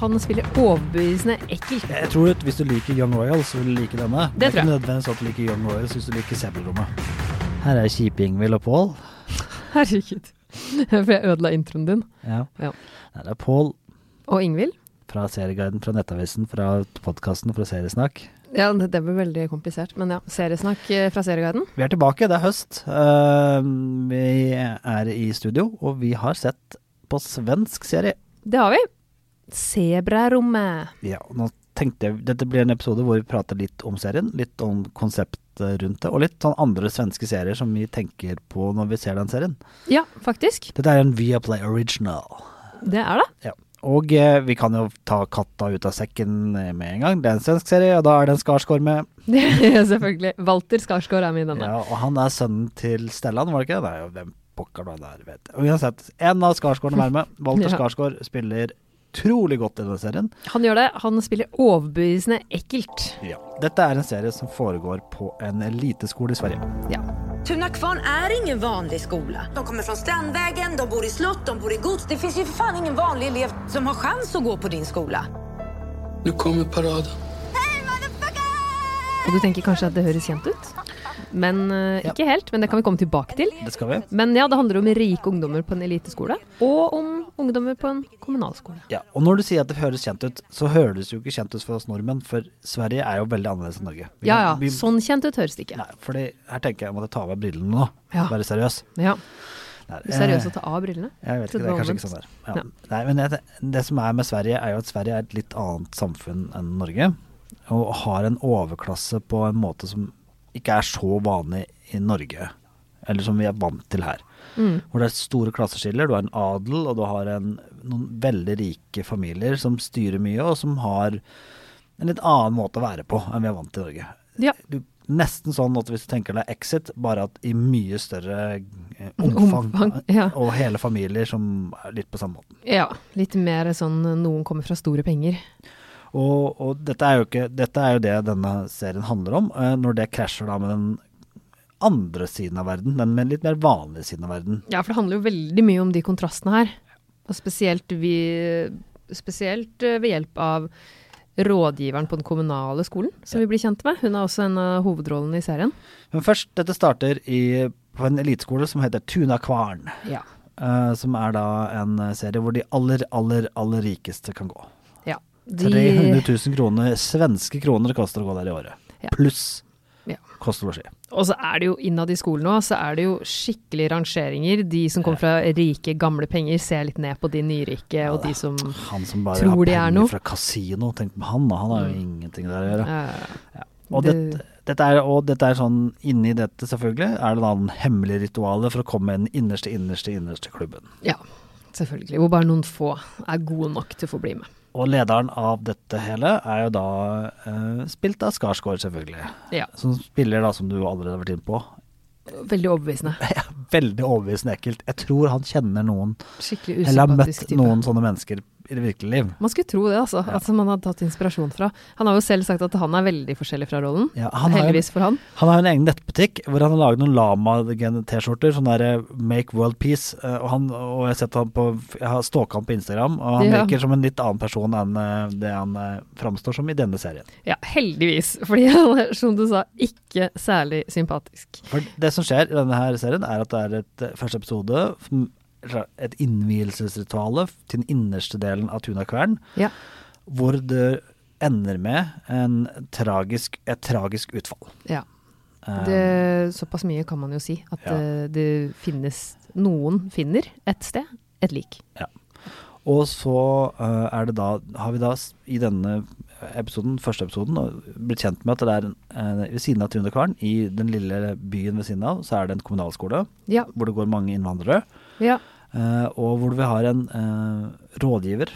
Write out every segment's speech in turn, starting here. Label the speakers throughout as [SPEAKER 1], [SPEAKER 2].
[SPEAKER 1] Han spiller overbevisende ekkel.
[SPEAKER 2] Jeg tror at hvis du liker Young Royals, så vil du like denne.
[SPEAKER 1] Det tror jeg.
[SPEAKER 2] er ikke nødvendigvis at du liker Young Royals hvis du liker Sebelrommet. Her er kjipe Ingvild og Pål.
[SPEAKER 1] Herregud. For jeg ødela introen din.
[SPEAKER 2] Ja.
[SPEAKER 1] Ja.
[SPEAKER 2] Her er Pål
[SPEAKER 1] Og Ingvild.
[SPEAKER 2] fra Serieguiden, fra Nettavisen, fra podkasten fra Seriesnakk.
[SPEAKER 1] Ja, det det ble veldig komplisert. Men ja, seriesnakk eh, fra Serieguiden.
[SPEAKER 2] Vi er tilbake, det er høst. Eh, vi er i studio, og vi har sett på svensk serie.
[SPEAKER 1] Det har vi. Sebrarommet.
[SPEAKER 2] Ja, nå tenkte jeg, Dette blir en episode hvor vi prater litt om serien, litt om konseptet rundt det, og litt sånn andre svenske serier som vi tenker på når vi ser den serien.
[SPEAKER 1] Ja, faktisk.
[SPEAKER 2] Dette er en Viaplay original.
[SPEAKER 1] Det er det.
[SPEAKER 2] Ja. Og eh, vi kan jo ta katta ut av sekken eh, med en gang. Det er en svensk serie, og da er det en Skarsgård med.
[SPEAKER 1] Selvfølgelig. Walter Skarsgård er med i denne.
[SPEAKER 2] Ja, og han er sønnen til Stellan, var det ikke? Nei, hvem pokker nå der, vet jeg. Uansett, en av Skarsgårdene være med. Walter
[SPEAKER 1] Ja.
[SPEAKER 2] Skarsgård spiller trolig godt i denne serien.
[SPEAKER 1] Han gjør det. Han spiller overbevisende ekkelt.
[SPEAKER 2] Dette er en serie som foregår på en eliteskole i Sverige.
[SPEAKER 1] Ja.
[SPEAKER 3] Tunakvarn är ingen vanlig skola. De kommer från Strandvägen, de bor i slott, de bor i gods. Det finns ju för fan ingen vanlig elev som har chans att gå på din skola.
[SPEAKER 4] Nu kommer paraden.
[SPEAKER 1] Og du tenker kanskje at det høres kjent ut? Men eh, ikke helt. Men det kan vi komme tilbake til.
[SPEAKER 2] Det skal vi.
[SPEAKER 1] Men ja, det handler om rike ungdommer på en eliteskole, og om ungdommer på en kommunalskole.
[SPEAKER 2] Ja, og når du sier at det høres kjent ut, så høres det jo ikke kjent ut for oss nordmenn, for Sverige er jo veldig annerledes enn Norge. Vi-
[SPEAKER 1] Ja ja,
[SPEAKER 2] vi-
[SPEAKER 1] sånn kjent ut høres det ikke.
[SPEAKER 2] Nei, fordi her tenker jeg jeg måtte ta av meg brillene nå.
[SPEAKER 1] Ja.
[SPEAKER 2] Være seriøs.
[SPEAKER 1] Ja,
[SPEAKER 2] Nei,
[SPEAKER 1] Seriøst
[SPEAKER 2] eh,
[SPEAKER 1] å ta av brillene?
[SPEAKER 2] Jeg vet
[SPEAKER 1] Trodde
[SPEAKER 2] ikke, det er
[SPEAKER 1] var
[SPEAKER 2] kanskje ikke sånn
[SPEAKER 1] omvendt.
[SPEAKER 2] der. Ja. Nei, men det, det som er med Sverige, er jo at Sverige er et litt annet samfunn enn Norge. Og har en overklasse på en måte som ikke er så vanlig i Norge. Eller som vi er vant til her. Hvor det er store klasseskiller. Du har en adel, og du har en, noen veldig rike familier som styrer mye, og som har en litt annen måte å være på enn vi er vant til i Norge.
[SPEAKER 1] Ja.
[SPEAKER 2] Du, nesten sånn at hvis du tenker deg Exit, bare at i mye større eh, omfang. eh,
[SPEAKER 1] Omfang, ja.
[SPEAKER 2] Og hele familier som er litt på samme måten.
[SPEAKER 1] ja. Litt mer sånn noen kommer fra store penger.
[SPEAKER 2] Og, og dette, er jo ikke, dette er jo det denne serien handler om. eh, Når det krasjer da med den andre siden av verden, den med litt mer vanlige siden av verden.
[SPEAKER 1] Ja, for det handler jo veldig mye om de kontrastene her. Og spesielt, vi, spesielt eh, ved hjelp av rådgiveren på den kommunale skolen, som vi blir kjent med. Hun er også en av hovedrollene i serien.
[SPEAKER 2] Men først, dette starter i, på en eliteskole som heter Tunakvarn.
[SPEAKER 1] Ja.
[SPEAKER 2] eh, som er da en eh, serie hvor de aller, aller, aller rikeste kan gå.
[SPEAKER 1] ja. De,
[SPEAKER 2] 300 000 kroner, svenske kroner det koster å gå der i året.
[SPEAKER 1] Ja.
[SPEAKER 2] Pluss
[SPEAKER 1] Ja.
[SPEAKER 2] kost og losji.
[SPEAKER 1] Og så er det jo innad i skolen òg, så er det jo skikkelig rangeringer. De som kommer fra rike, gamle penger, ser litt ned på de nyrike, og de som
[SPEAKER 2] Han som bare
[SPEAKER 1] Tror
[SPEAKER 2] har
[SPEAKER 1] de er
[SPEAKER 2] penger
[SPEAKER 1] noe.
[SPEAKER 2] fra kasino, tenk på han da, han har jo ingenting der å gjøre.
[SPEAKER 1] eh,
[SPEAKER 2] Og
[SPEAKER 1] det-
[SPEAKER 2] dette, dette er, og dette er sånn, inni dette selvfølgelig, er det da den hemmelige ritualet for å komme i den innerste, innerste, innerste klubben.
[SPEAKER 1] Ja, selvfølgelig. Hvor bare noen få er gode nok til å få bli med.
[SPEAKER 2] Og lederen av dette hele er jo da eh, spilt av Skarsgård selvfølgelig,
[SPEAKER 1] Ja,
[SPEAKER 2] som spiller da, som du allerede har vært inne på,
[SPEAKER 1] Veldig overbevisende.
[SPEAKER 2] veldig overbevisende ekkelt. Jeg tror han kjenner noen,
[SPEAKER 1] Skikkelig
[SPEAKER 2] eller har møtt
[SPEAKER 1] usympatisk type.
[SPEAKER 2] noen sånne mennesker i det virkelige liv.
[SPEAKER 1] Man skulle tro det, altså. At man hadde tatt inspirasjon fra. Han har jo selv sagt at han er veldig forskjellig fra rollen.
[SPEAKER 2] Ja, han har jo-
[SPEAKER 1] Heldigvis for han.
[SPEAKER 2] Han har jo en egen nettbutikk hvor han har laget noen lama-T-skjorter, sånn der eh, Make World Peace. eh, Og, han, og jeg, har sett han på, jeg har stalka han på Instagram, og han
[SPEAKER 1] Ja.
[SPEAKER 2] virker som en litt annen person enn eh, det han eh, framstår som i denne serien.
[SPEAKER 1] Ja, heldigvis. Fordi han er, som du sa, ikke særlig sympatisk.
[SPEAKER 2] For det som skjer i denne her serien, er at det er et eh, første episode som- et innvielsesrituale til den innerste delen av Tunakvern,
[SPEAKER 1] Ja.
[SPEAKER 2] hvor det ender med en tragisk, et tragisk utfall.
[SPEAKER 1] ja.
[SPEAKER 2] Eh,
[SPEAKER 1] Det, såpass mye kan man jo si. At
[SPEAKER 2] Ja.
[SPEAKER 1] eh, det finnes Noen finner et sted et lik.
[SPEAKER 2] Og så eh, er det da, har vi da s- i denne episoden, første episoden og blitt kjent med at det er eh, ved siden av Trundekvern, i den lille byen ved siden av, så er det en kommunalskole
[SPEAKER 1] Ja.
[SPEAKER 2] hvor det går mange innvandrere.
[SPEAKER 1] ja.
[SPEAKER 2] eh, og hvor vi har en eh, rådgiver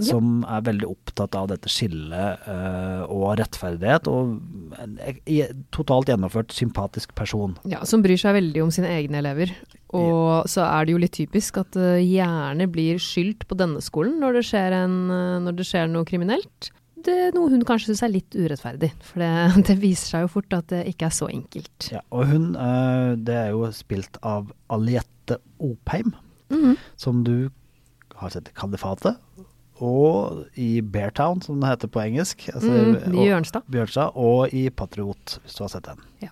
[SPEAKER 1] Ja.
[SPEAKER 2] som er veldig opptatt av dette skillet eh, og rettferdighet. Og en e- totalt gjennomført sympatisk person.
[SPEAKER 1] Ja, som bryr seg veldig om sine egne elever. Og så er det jo litt typisk at det gjerne blir skyldt på denne skolen når det skjer, en, eh, når det skjer noe kriminelt. Det er noe hun kanskje syns er litt urettferdig, for det, det viser seg jo fort at det ikke er så enkelt.
[SPEAKER 2] Ja, og hun, eh, det er jo spilt av
[SPEAKER 1] Mhm.
[SPEAKER 2] Aliette Opheim, som du har sett i Kalifatet, og i Beartown, som det heter på engelsk. Altså,
[SPEAKER 1] Mm, i
[SPEAKER 2] og-
[SPEAKER 1] Bjørnstad.
[SPEAKER 2] Bjørnstad. Og i Patriot, hvis du har sett den.
[SPEAKER 1] Ja.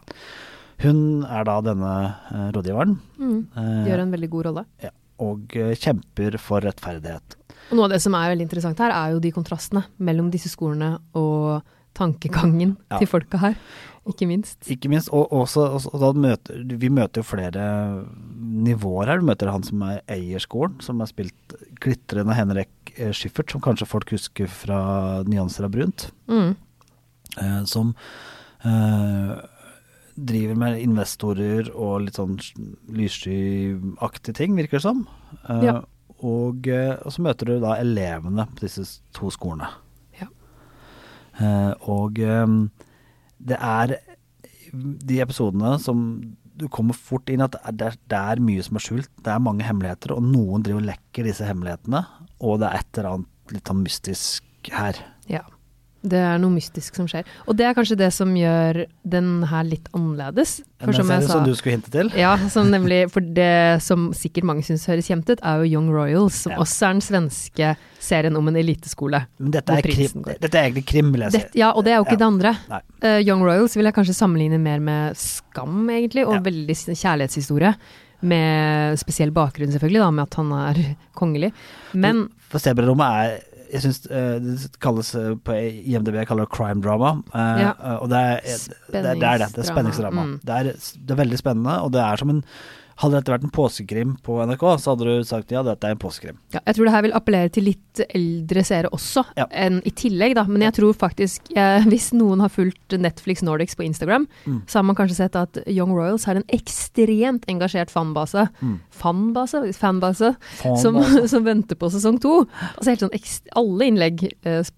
[SPEAKER 2] Hun er da denne eh, rådgiveren.
[SPEAKER 1] Mm.
[SPEAKER 2] eh,
[SPEAKER 1] Gjør en veldig god rolle.
[SPEAKER 2] ja, og eh, kjemper for rettferdighet.
[SPEAKER 1] Og noe av det som er veldig interessant her, er jo de kontrastene mellom disse skolene og tankegangen
[SPEAKER 2] Ja.
[SPEAKER 1] til folka her, ikke minst.
[SPEAKER 2] Ikke minst, og, også, også, og da møter, Vi møter jo flere nivåer her. Du møter han som er eier skolen, som har spilt glitrende Henrik eh, Schyffert, som kanskje folk husker fra 'Nyanser av brunt'.
[SPEAKER 1] Mm.
[SPEAKER 2] eh, som eh, driver med investorer og litt sånn lysskyaktige ting, virker det som. Eh,
[SPEAKER 1] Ja.
[SPEAKER 2] og, eh, og så møter du da elevene på disse s- to skolene.
[SPEAKER 1] Ja.
[SPEAKER 2] Eh, og eh, det er de episodene som du kommer fort inn at det er, det er- det er mye som er skjult. Det er mange hemmeligheter, og noen driver og lekker disse hemmelighetene. Og det er et eller annet litt sånn mystisk her.
[SPEAKER 1] Ja. Det er noe mystisk som skjer. Og det er kanskje det som gjør den her litt annerledes.
[SPEAKER 2] En
[SPEAKER 1] For som
[SPEAKER 2] serie
[SPEAKER 1] jeg sa
[SPEAKER 2] som du skulle hinte til.
[SPEAKER 1] Ja, som nemlig For det som sikkert mange syns høres kjent ut, er jo Young Royals, som
[SPEAKER 2] Ja.
[SPEAKER 1] også er den svenske serien om en eliteskole.
[SPEAKER 2] Men dette er,
[SPEAKER 1] hvor prinsen
[SPEAKER 2] krim,
[SPEAKER 1] går.
[SPEAKER 2] dette er egentlig krim, vil jeg si.
[SPEAKER 1] Det, ja, og det er jo ikke
[SPEAKER 2] Ja.
[SPEAKER 1] det andre.
[SPEAKER 2] Nei.
[SPEAKER 1] Eh, Young Royals vil jeg kanskje sammenligne mer med skam, egentlig, og
[SPEAKER 2] Ja.
[SPEAKER 1] veldig sin- kjærlighetshistorie. Med spesiell bakgrunn, selvfølgelig, da, med at han er kongelig. Men
[SPEAKER 2] For Sebrarommet er jeg synes, eh, Det kalles eh, på IMDb jeg kaller det crime drama. eh,
[SPEAKER 1] Ja.
[SPEAKER 2] eh, Og det er, det, er- det er det. Det er
[SPEAKER 1] Spenningsdrama.
[SPEAKER 2] spenningsdrama.
[SPEAKER 1] Mm.
[SPEAKER 2] Det, er, det er veldig spennende, og det er som en Hadde dette vært en påskekrim på NRK, så hadde du sagt ja, dette er en påskekrim.
[SPEAKER 1] Ja, jeg tror det her vil appellere til litt eldre seere også,
[SPEAKER 2] Ja.
[SPEAKER 1] enn i tillegg, da. Men jeg tror faktisk, eh, hvis noen har fulgt Netflix Nordics på Instagram,
[SPEAKER 2] Mm.
[SPEAKER 1] så har man kanskje sett at Young Royals har en ekstremt engasjert fanbase.
[SPEAKER 2] Mm.
[SPEAKER 1] Fanbase? Fanbase.
[SPEAKER 2] Faen,
[SPEAKER 1] Som,
[SPEAKER 2] altså.
[SPEAKER 1] som venter på sesong to. Altså helt sånn ekst alle innlegg eh, s-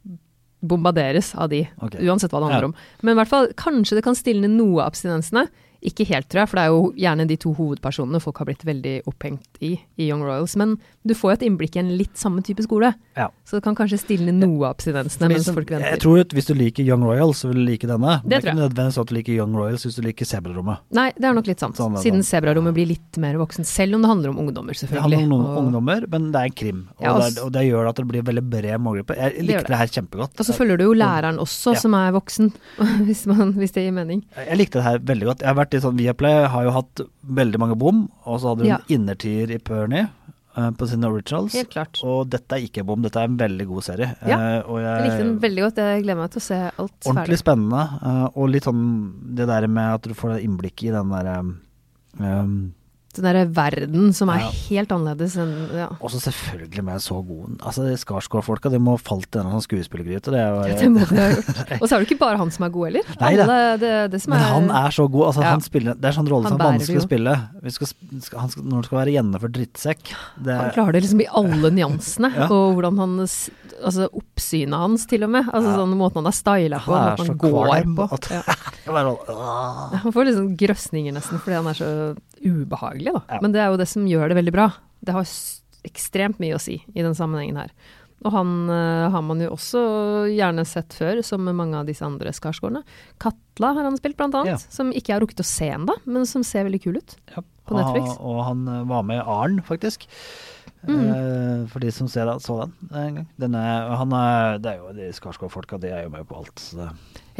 [SPEAKER 1] bombarderes av de,
[SPEAKER 2] Ok.
[SPEAKER 1] uansett hva det handler
[SPEAKER 2] Ja.
[SPEAKER 1] om. Men i hvert fall, kanskje det kan stilne noe av abstinensene. Ikke helt, tror jeg, for det er jo gjerne de to hovedpersonene folk har blitt veldig opphengt i i Young Royals. Men du får jo et innblikk i en litt samme type skole,
[SPEAKER 2] Ja. sånn-
[SPEAKER 1] så det kan kanskje stilne noe av abstinensene mens folk
[SPEAKER 2] Jeg
[SPEAKER 1] venter.
[SPEAKER 2] tror at hvis du liker Young Royals, så vil du like denne. Men
[SPEAKER 1] Det
[SPEAKER 2] det er ikke nødvendigvis at du liker Young Royals hvis du liker Sebrarommet.
[SPEAKER 1] Nei, det er nok litt sant.
[SPEAKER 2] Sånn er det.
[SPEAKER 1] Siden Sebrarommet blir litt mer voksen, selv om det handler om ungdommer,
[SPEAKER 2] Det
[SPEAKER 1] selvfølgelig.
[SPEAKER 2] handler om noen
[SPEAKER 1] og-
[SPEAKER 2] ungdommer, men det er en krim. Og,
[SPEAKER 1] Ja,
[SPEAKER 2] det,
[SPEAKER 1] altså.
[SPEAKER 2] er, og det gjør at det blir veldig bred målgruppe. Jeg
[SPEAKER 1] gjør
[SPEAKER 2] likte det. her kjempegodt.
[SPEAKER 1] Og så følger du jo læreren også,
[SPEAKER 2] Ja.
[SPEAKER 1] som er voksen, hvis, man, hvis det gir mening.
[SPEAKER 2] Jeg likte det her veldig godt. Jeg har vært i sånn Viaplay har jo hatt veldig mange bom, og så hadde hun
[SPEAKER 1] Ja.
[SPEAKER 2] innertier i Pernie eh, på sine originals.
[SPEAKER 1] Helt klart.
[SPEAKER 2] Og dette er ikke bom, dette er en veldig god serie.
[SPEAKER 1] Ja,
[SPEAKER 2] Eh, og
[SPEAKER 1] Jeg
[SPEAKER 2] jeg,
[SPEAKER 1] likte den veldig godt. Jeg gleder meg til å se alt
[SPEAKER 2] Ordentlig
[SPEAKER 1] ferdig.
[SPEAKER 2] spennende, eh, og litt sånn det der med at du får det innblikket i den eh, derre
[SPEAKER 1] Den derre verden som er
[SPEAKER 2] Ja.
[SPEAKER 1] helt annerledes enn ja.
[SPEAKER 2] og så selvfølgelig med så god Altså, Skarsgård-folka, de må ha falt i en eller annen sånn skuespillergryte. Det er jo-
[SPEAKER 1] Det må vi ha gjort. Og så er det ikke bare han som er god heller.
[SPEAKER 2] Eh, Nei da.
[SPEAKER 1] Alle- det, det som
[SPEAKER 2] Men
[SPEAKER 1] er,
[SPEAKER 2] han er så god. Altså,
[SPEAKER 1] Ja.
[SPEAKER 2] han spiller, det er sånn rolle
[SPEAKER 1] Han
[SPEAKER 2] som er
[SPEAKER 1] bærer det
[SPEAKER 2] vanskelig
[SPEAKER 1] jo.
[SPEAKER 2] å spille. Vi skal, sp- skal, han skal, når han skal være gjennomført drittsekk. Det,
[SPEAKER 1] han klarer det liksom i alle nyansene.
[SPEAKER 2] Ja.
[SPEAKER 1] Og hvordan han s- Altså oppsynet hans, til og med. Altså
[SPEAKER 2] Ja.
[SPEAKER 1] sånn måten han er styla på.
[SPEAKER 2] han er
[SPEAKER 1] at
[SPEAKER 2] så
[SPEAKER 1] han går
[SPEAKER 2] kvalm
[SPEAKER 1] på.
[SPEAKER 2] at
[SPEAKER 1] Ja.
[SPEAKER 2] Jeg bare sånn, «Åh».
[SPEAKER 1] Han får liksom grøsninger nesten fordi han er så ubehagelig, da.
[SPEAKER 2] Ja.
[SPEAKER 1] Men det er jo det som gjør det veldig bra. Det har s- ekstremt mye å si i den sammenhengen her. Og han eh, har man jo også gjerne sett før, som med mange av disse andre Skarsgårdene. Katla har han spilt, blant
[SPEAKER 2] Ja.
[SPEAKER 1] annet. Som ikke jeg har rukket å se ennå, men som ser veldig kul ut. På
[SPEAKER 2] Og-
[SPEAKER 1] Netflix. Mm.
[SPEAKER 2] Og, han eh, var med i Arn, faktisk. Eh, for de som ser den, så den en gang. Den er, han er, det er jo de Skarsgård-folka, de er jo med på alt. Så det.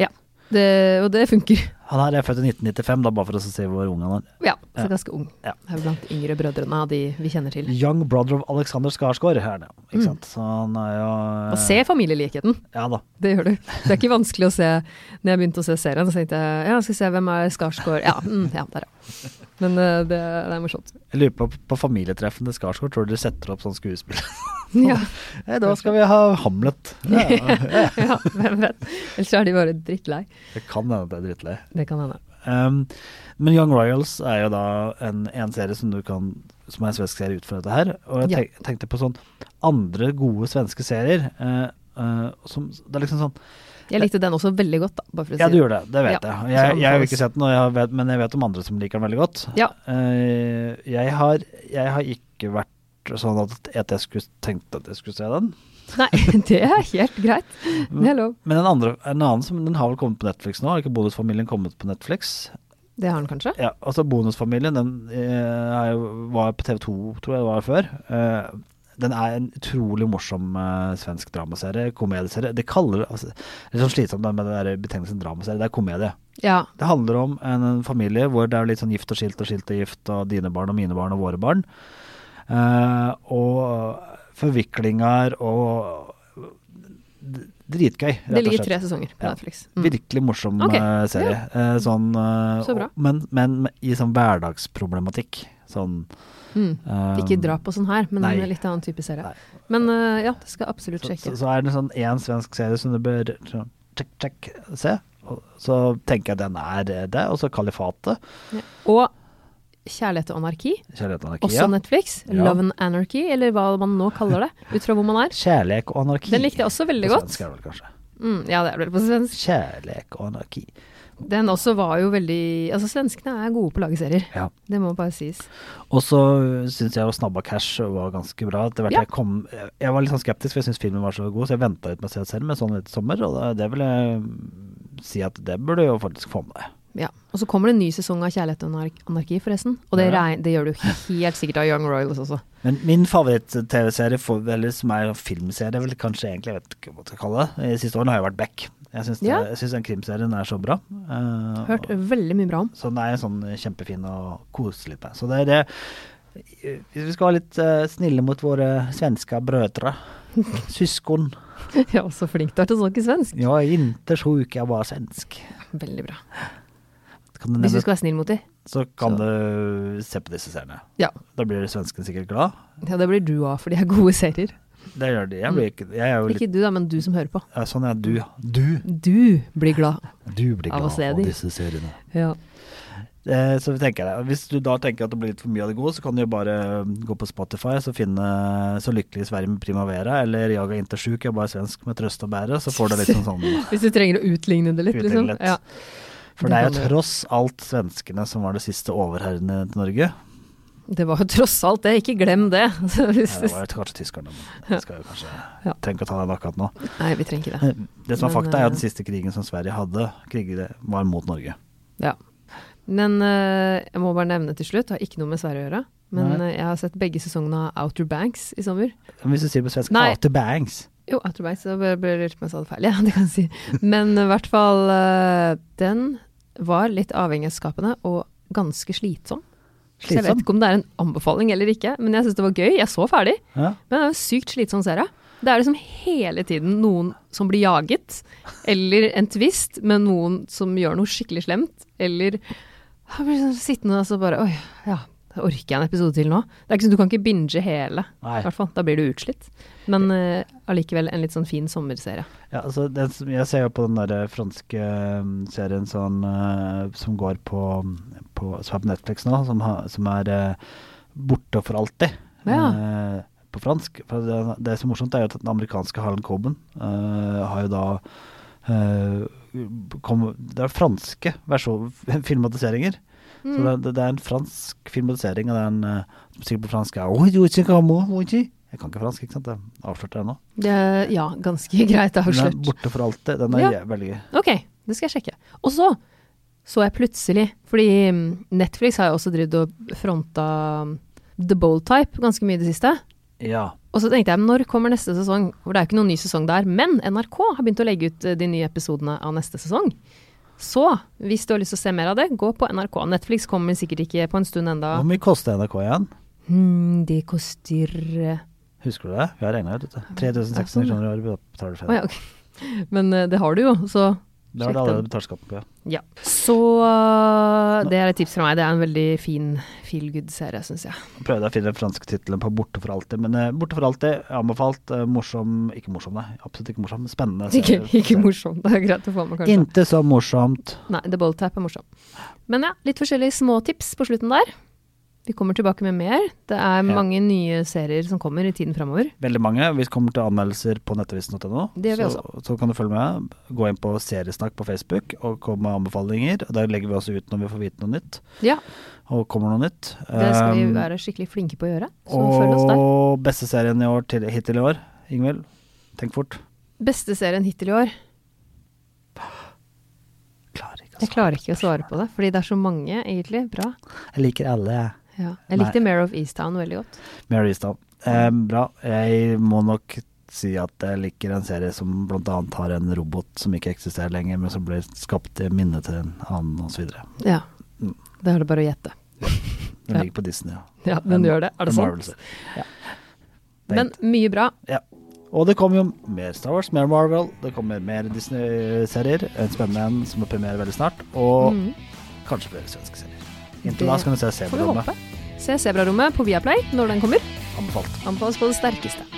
[SPEAKER 1] Ja. Det, og det funker.
[SPEAKER 2] Han her er født i 1995, da, bare for å si hvor ung han er.
[SPEAKER 1] Ja, så
[SPEAKER 2] Ja.
[SPEAKER 1] ganske ung.
[SPEAKER 2] Ja.
[SPEAKER 1] Er jo blant de yngre brødrene av de vi kjenner til.
[SPEAKER 2] Young brother of Alexander Skarsgård, her, ja. Ikke sant. Så han er jo eh,
[SPEAKER 1] Mm. Og se familielikheten.
[SPEAKER 2] Ja da.
[SPEAKER 1] Det gjør du. Det er ikke vanskelig å se Når jeg begynte å se serien, så tenkte jeg ja, jeg skal se hvem er Skarsgård Ja, mm, ja der, ja. Men eh, det, det er morsomt.
[SPEAKER 2] Jeg lurer på på familietreffene til Skarsgård, tror du de setter opp sånn skuespill?
[SPEAKER 1] Ja,
[SPEAKER 2] Nei, da skal vi ha Hamlet. Ja,
[SPEAKER 1] ja hvem vet. Ellers er de bare drittlei.
[SPEAKER 2] det kan hende at jeg er drittlei.
[SPEAKER 1] Det kan hende.
[SPEAKER 2] Um, men Young Royals er jo da en, en serie som du kan Som er en svensk serie ut fra dette her. Og jeg
[SPEAKER 1] Ja.
[SPEAKER 2] tenk, tenkte på sånn andre gode svenske serier. eh, eh, som, det er liksom sånn
[SPEAKER 1] Jeg likte den også veldig godt, da, bare for å si
[SPEAKER 2] Ja, du gjør det. Det vet
[SPEAKER 1] Ja, Sånn
[SPEAKER 2] jeg.
[SPEAKER 1] så
[SPEAKER 2] Jeg, jeg har jo
[SPEAKER 1] anbefales.
[SPEAKER 2] ikke sett den, og jeg vet, men jeg vet om andre som liker den veldig godt.
[SPEAKER 1] Ja.
[SPEAKER 2] Eh, jeg, har, jeg har ikke vært sånn at, at jeg skulle tenkt at jeg skulle se den.
[SPEAKER 1] Nei, det er helt greit. Det er lov.
[SPEAKER 2] Men den andre, en annen som den har vel kommet på Netflix nå? Har ikke Bonusfamilien kommet på Netflix?
[SPEAKER 1] Det har han kanskje?
[SPEAKER 2] Ja, altså Bonusfamilien den eh, er jo- var på TV 2, tror jeg det var før. Eh, Den er en utrolig morsom eh, svensk dramaserie, komedieserie. De kaller det altså, Det er litt sånn slitsomt da, med den der betegnelsen dramaserie, det er komedie.
[SPEAKER 1] Ja.
[SPEAKER 2] Det handler om en, en familie hvor det er litt sånn gift og skilt og skilt og gift, og dine barn og mine barn og våre barn. Eh, og forviklinger og d- Dritgøy, rett og slett.
[SPEAKER 1] Det ligger tre sesonger på
[SPEAKER 2] Ja.
[SPEAKER 1] Netflix. Mm.
[SPEAKER 2] Virkelig morsom
[SPEAKER 1] Ok,
[SPEAKER 2] eh, serie. Eh, sånn, eh,
[SPEAKER 1] Så bra.
[SPEAKER 2] Men, men i sånn hverdagsproblematikk. Sånn
[SPEAKER 1] Mm.
[SPEAKER 2] eh,
[SPEAKER 1] Ikke drap og sånn her, men
[SPEAKER 2] Nei.
[SPEAKER 1] en litt annen type serie.
[SPEAKER 2] Nei.
[SPEAKER 1] Men eh, ja, det skal jeg absolutt
[SPEAKER 2] Så, så,
[SPEAKER 1] sjekke.
[SPEAKER 2] så er det sånn én svensk serie som du bør sånn, check, check, se. Og så tenker jeg den er eh, det. Og så Kalifatet.
[SPEAKER 1] Og Kjærlighet og anarki,
[SPEAKER 2] Kjærlighet og
[SPEAKER 1] også
[SPEAKER 2] anarki.
[SPEAKER 1] Netflix.
[SPEAKER 2] Ja.
[SPEAKER 1] Love and anarchy, eller hva man nå kaller det, ut fra hvor man er.
[SPEAKER 2] Kjærlek og anarki.
[SPEAKER 1] Den likte jeg også veldig
[SPEAKER 2] På
[SPEAKER 1] godt.
[SPEAKER 2] svensk er det vel kanskje.
[SPEAKER 1] Mm, ja, det er vel på svensk.
[SPEAKER 2] Kjærlek og anarki.
[SPEAKER 1] Den også var jo veldig Altså, svenskene er gode på å lage serier.
[SPEAKER 2] Ja.
[SPEAKER 1] Det må bare sies.
[SPEAKER 2] Og så syns jeg jo Snabba Cash var ganske bra. Etter hvert
[SPEAKER 1] Ja.
[SPEAKER 2] jeg kom Jeg var litt sånn skeptisk, for jeg syns filmen var så god, så jeg venta ut med å se det selv, men sånn litt sommer, og det- det vil jeg mm, si at det burde jeg jo faktisk få med deg.
[SPEAKER 1] Ja. Og så kommer det en ny sesong av Kjærlighet og anar- anarki, forresten. Og det,
[SPEAKER 2] Ja.
[SPEAKER 1] regn, det gjør du helt sikkert av Young Royals også.
[SPEAKER 2] Men min favoritt-TV-serie, for- eller som er en filmserie, vel kanskje egentlig, jeg vet ikke hva jeg skal kalle det, i de siste årene har jo vært Beck. Jeg syns
[SPEAKER 1] Ja.
[SPEAKER 2] det- jeg syns den krimserien er så bra. Eh,
[SPEAKER 1] Hørt veldig mye bra om.
[SPEAKER 2] Så den er sånn kjempefin å kose litt med. Så det er det Hvis vi skal være litt eh, snille mot våre svenske brødre, søsken
[SPEAKER 1] Jeg er også flink du er til å snakke svensk.
[SPEAKER 2] Jag är inte sjuk, jag var svensk.
[SPEAKER 1] Veldig bra.
[SPEAKER 2] Kan du
[SPEAKER 1] Hvis du
[SPEAKER 2] nevne,
[SPEAKER 1] skal være snill mot dem.
[SPEAKER 2] så kan du se på disse seriene.
[SPEAKER 1] Ja.
[SPEAKER 2] Da blir svensken sikkert glad.
[SPEAKER 1] ja, det blir du av, for de er gode serier.
[SPEAKER 2] Det gjør de. Jeg blir ikke Jeg er jo litt
[SPEAKER 1] Mm. Ikke du da, men du som hører på.
[SPEAKER 2] ja, Sånn er du. Du,
[SPEAKER 1] Du blir glad.
[SPEAKER 2] du blir
[SPEAKER 1] Av å
[SPEAKER 2] glad
[SPEAKER 1] se
[SPEAKER 2] av
[SPEAKER 1] de.
[SPEAKER 2] disse seriene.
[SPEAKER 1] Ja.
[SPEAKER 2] Eh, så vi tenker det. Hvis du da tenker at det blir litt for mye av det gode, så kan du jo bare eh, gå på Spotify så finne Så lykkelig i Sverige med Primavera eller Jag är inte sjuk, jag var svensk med trøst og bære. Så får du litt sånn sånn
[SPEAKER 1] Hvis du trenger å utligne det litt,
[SPEAKER 2] Utligne
[SPEAKER 1] liksom.
[SPEAKER 2] litt.
[SPEAKER 1] Ja.
[SPEAKER 2] For
[SPEAKER 1] Det
[SPEAKER 2] det er
[SPEAKER 1] kan
[SPEAKER 2] jo
[SPEAKER 1] du.
[SPEAKER 2] tross alt svenskene som var det siste overherrene til Norge.
[SPEAKER 1] Det var jo tross alt det, ikke glem det. Hvis du-
[SPEAKER 2] Ja, det var kanskje tyskerne, men vi skal jo kanskje
[SPEAKER 1] Ja.
[SPEAKER 2] trenger ikke å ta den akkurat nå.
[SPEAKER 1] Nei, vi trenger ikke det.
[SPEAKER 2] Det som er
[SPEAKER 1] Men,
[SPEAKER 2] fakta, er
[SPEAKER 1] eh,
[SPEAKER 2] at den siste krigen som Sverige hadde, kriger, eh, var mot Norge.
[SPEAKER 1] Ja. Men eh, jeg må bare nevne til slutt, har ikke noe med Sverige å gjøre, men eh, jeg har sett begge sesongene av Outer Banks i sommer.
[SPEAKER 2] Men hvis du sier på svensk
[SPEAKER 1] Nei.
[SPEAKER 2] Outer Banks
[SPEAKER 1] Jo, Outer Banks, da ble ble det lurt på om jeg sa det feil. Ja, det kan jeg si. Men i hvert fall, eh, den var litt avhengighetsskapende og ganske slitsom. Så jeg vet
[SPEAKER 2] Slitsom?
[SPEAKER 1] ikke om det er en anbefaling eller ikke, men jeg syns det var gøy. Jeg så ferdig.
[SPEAKER 2] Ja.
[SPEAKER 1] Men det er jo en sykt slitsom serie. Det er liksom hele tiden noen som blir jaget, eller en twist med noen som gjør noe skikkelig slemt, eller jeg blir sånn sittende og så bare Oi, ja, da orker jeg en episode til nå. Det er ikke sånn, Du kan ikke binge hele,
[SPEAKER 2] Nei.
[SPEAKER 1] i hvert fall. Da blir du utslitt. Men eh, allikevel en litt sånn fin sommerserie.
[SPEAKER 2] Ja, altså, den som, jeg ser jo på den der eh, franske um, serien sånn, eh, som går på, på Som er på Netflix nå, som, ha, som er eh, borte for alltid.
[SPEAKER 1] Ja.
[SPEAKER 2] eh, på fransk. For det, det som er morsomt, er jo at den amerikanske Harlan Coben eh, har jo da eh, kom, Det er franske versjon, filmatiseringer. Så det, det, det er en fransk filmatisering, og det er en eh, som sikkert på fransk er Jeg kan ikke fransk, ikke sant? Jeg avslørte det nå.
[SPEAKER 1] Det, ja, ganske greit
[SPEAKER 2] Den er
[SPEAKER 1] avslørt.
[SPEAKER 2] borte for alltid. Den er
[SPEAKER 1] Ja.
[SPEAKER 2] je- veldig gøy.
[SPEAKER 1] Ok, det skal jeg sjekke. Og så så jeg plutselig, fordi mm, Netflix har jo også drevet og fronta mm, The Bold Type ganske mye i det siste.
[SPEAKER 2] Ja.
[SPEAKER 1] Og så tenkte jeg, når kommer neste sesong? For det er jo ikke noen ny sesong der, men NRK har begynt å legge ut eh, de nye episodene av neste sesong. Så hvis du har lyst til å se mer av det, gå på NRK. Netflix kommer sikkert ikke på en stund enda.
[SPEAKER 2] Hvor mye koster NRK igjen?
[SPEAKER 1] Hmm, det koster eh,
[SPEAKER 2] Husker du det? Vi har regna ut dette. 3600 kroner i året vi betaler for
[SPEAKER 1] sånn, Å ja, ok. Men eh, det har du jo, så
[SPEAKER 2] Det har
[SPEAKER 1] sjekk
[SPEAKER 2] du allerede
[SPEAKER 1] den.
[SPEAKER 2] betalt skatten på, ja.
[SPEAKER 1] Ja. Så eh, det er et tips fra meg. Det er en veldig fin feel good-serie, syns jeg.
[SPEAKER 2] Nå Prøvde jeg å finne den franske tittelen på 'Borte for alltid', men eh, 'Borte for alltid' er anbefalt. eh, morsom Ikke morsom, nei. Absolutt ikke morsom. men Spennende.
[SPEAKER 1] Ikke,
[SPEAKER 2] serie.
[SPEAKER 1] ikke morsomt. Det er greit å få med, kanskje.
[SPEAKER 2] Inte så morsomt.
[SPEAKER 1] Nei, The Bold Tap er morsom. Men ja, litt forskjellige småtips på slutten der. Vi kommer tilbake med mer. Det er mange nye serier som kommer i tiden framover.
[SPEAKER 2] Veldig mange. Vi kommer til anmeldelser på nettavisen.no.
[SPEAKER 1] Det gjør vi
[SPEAKER 2] så, så kan du følge med. Gå inn på Seriesnakk på Facebook og kom med anbefalinger. Og Der legger vi også ut når vi får vite noe nytt.
[SPEAKER 1] Ja,
[SPEAKER 2] Og kommer noe nytt.
[SPEAKER 1] det skal vi
[SPEAKER 2] Um,
[SPEAKER 1] være skikkelig flinke på å gjøre. Så følg oss der.
[SPEAKER 2] Og beste serien i år til, hittil i år, Ingvild. Tenk fort.
[SPEAKER 1] Beste serien hittil i år.
[SPEAKER 2] Klarer ikke altså. å
[SPEAKER 1] Jeg
[SPEAKER 2] svare.
[SPEAKER 1] klarer ikke å svare på det, fordi det er så mange egentlig bra.
[SPEAKER 2] Jeg liker alle, jeg.
[SPEAKER 1] Ja. Jeg likte Mare of Easttown veldig godt.
[SPEAKER 2] Mary Easton. Eh, bra. Jeg må nok si at jeg liker en serie som bl.a. har en robot som ikke eksisterer lenger, men som blir skapt i minnet til en annen osv. Den
[SPEAKER 1] Ja. Da er Mm. det bare å gjette. Ja.
[SPEAKER 2] ligger på Disney. Ja.
[SPEAKER 1] Ja, den gjør det. Er det
[SPEAKER 2] En
[SPEAKER 1] sant?
[SPEAKER 2] Marvel-serie.
[SPEAKER 1] Men mye bra.
[SPEAKER 2] Ja. Og det kommer jo mer Star Wars, mer Marvel, det kommer mer Disney-serier. En spennende en som har premiere veldig snart. Og kanskje flere svenske serier. Inntil
[SPEAKER 1] Mm. Det
[SPEAKER 2] da skal du se
[SPEAKER 1] Får vi
[SPEAKER 2] Sebelrommet.
[SPEAKER 1] håpe. Se Sebrarommet på Viaplay når den kommer.
[SPEAKER 2] Anbefalt.
[SPEAKER 1] Anbefales på det sterkeste.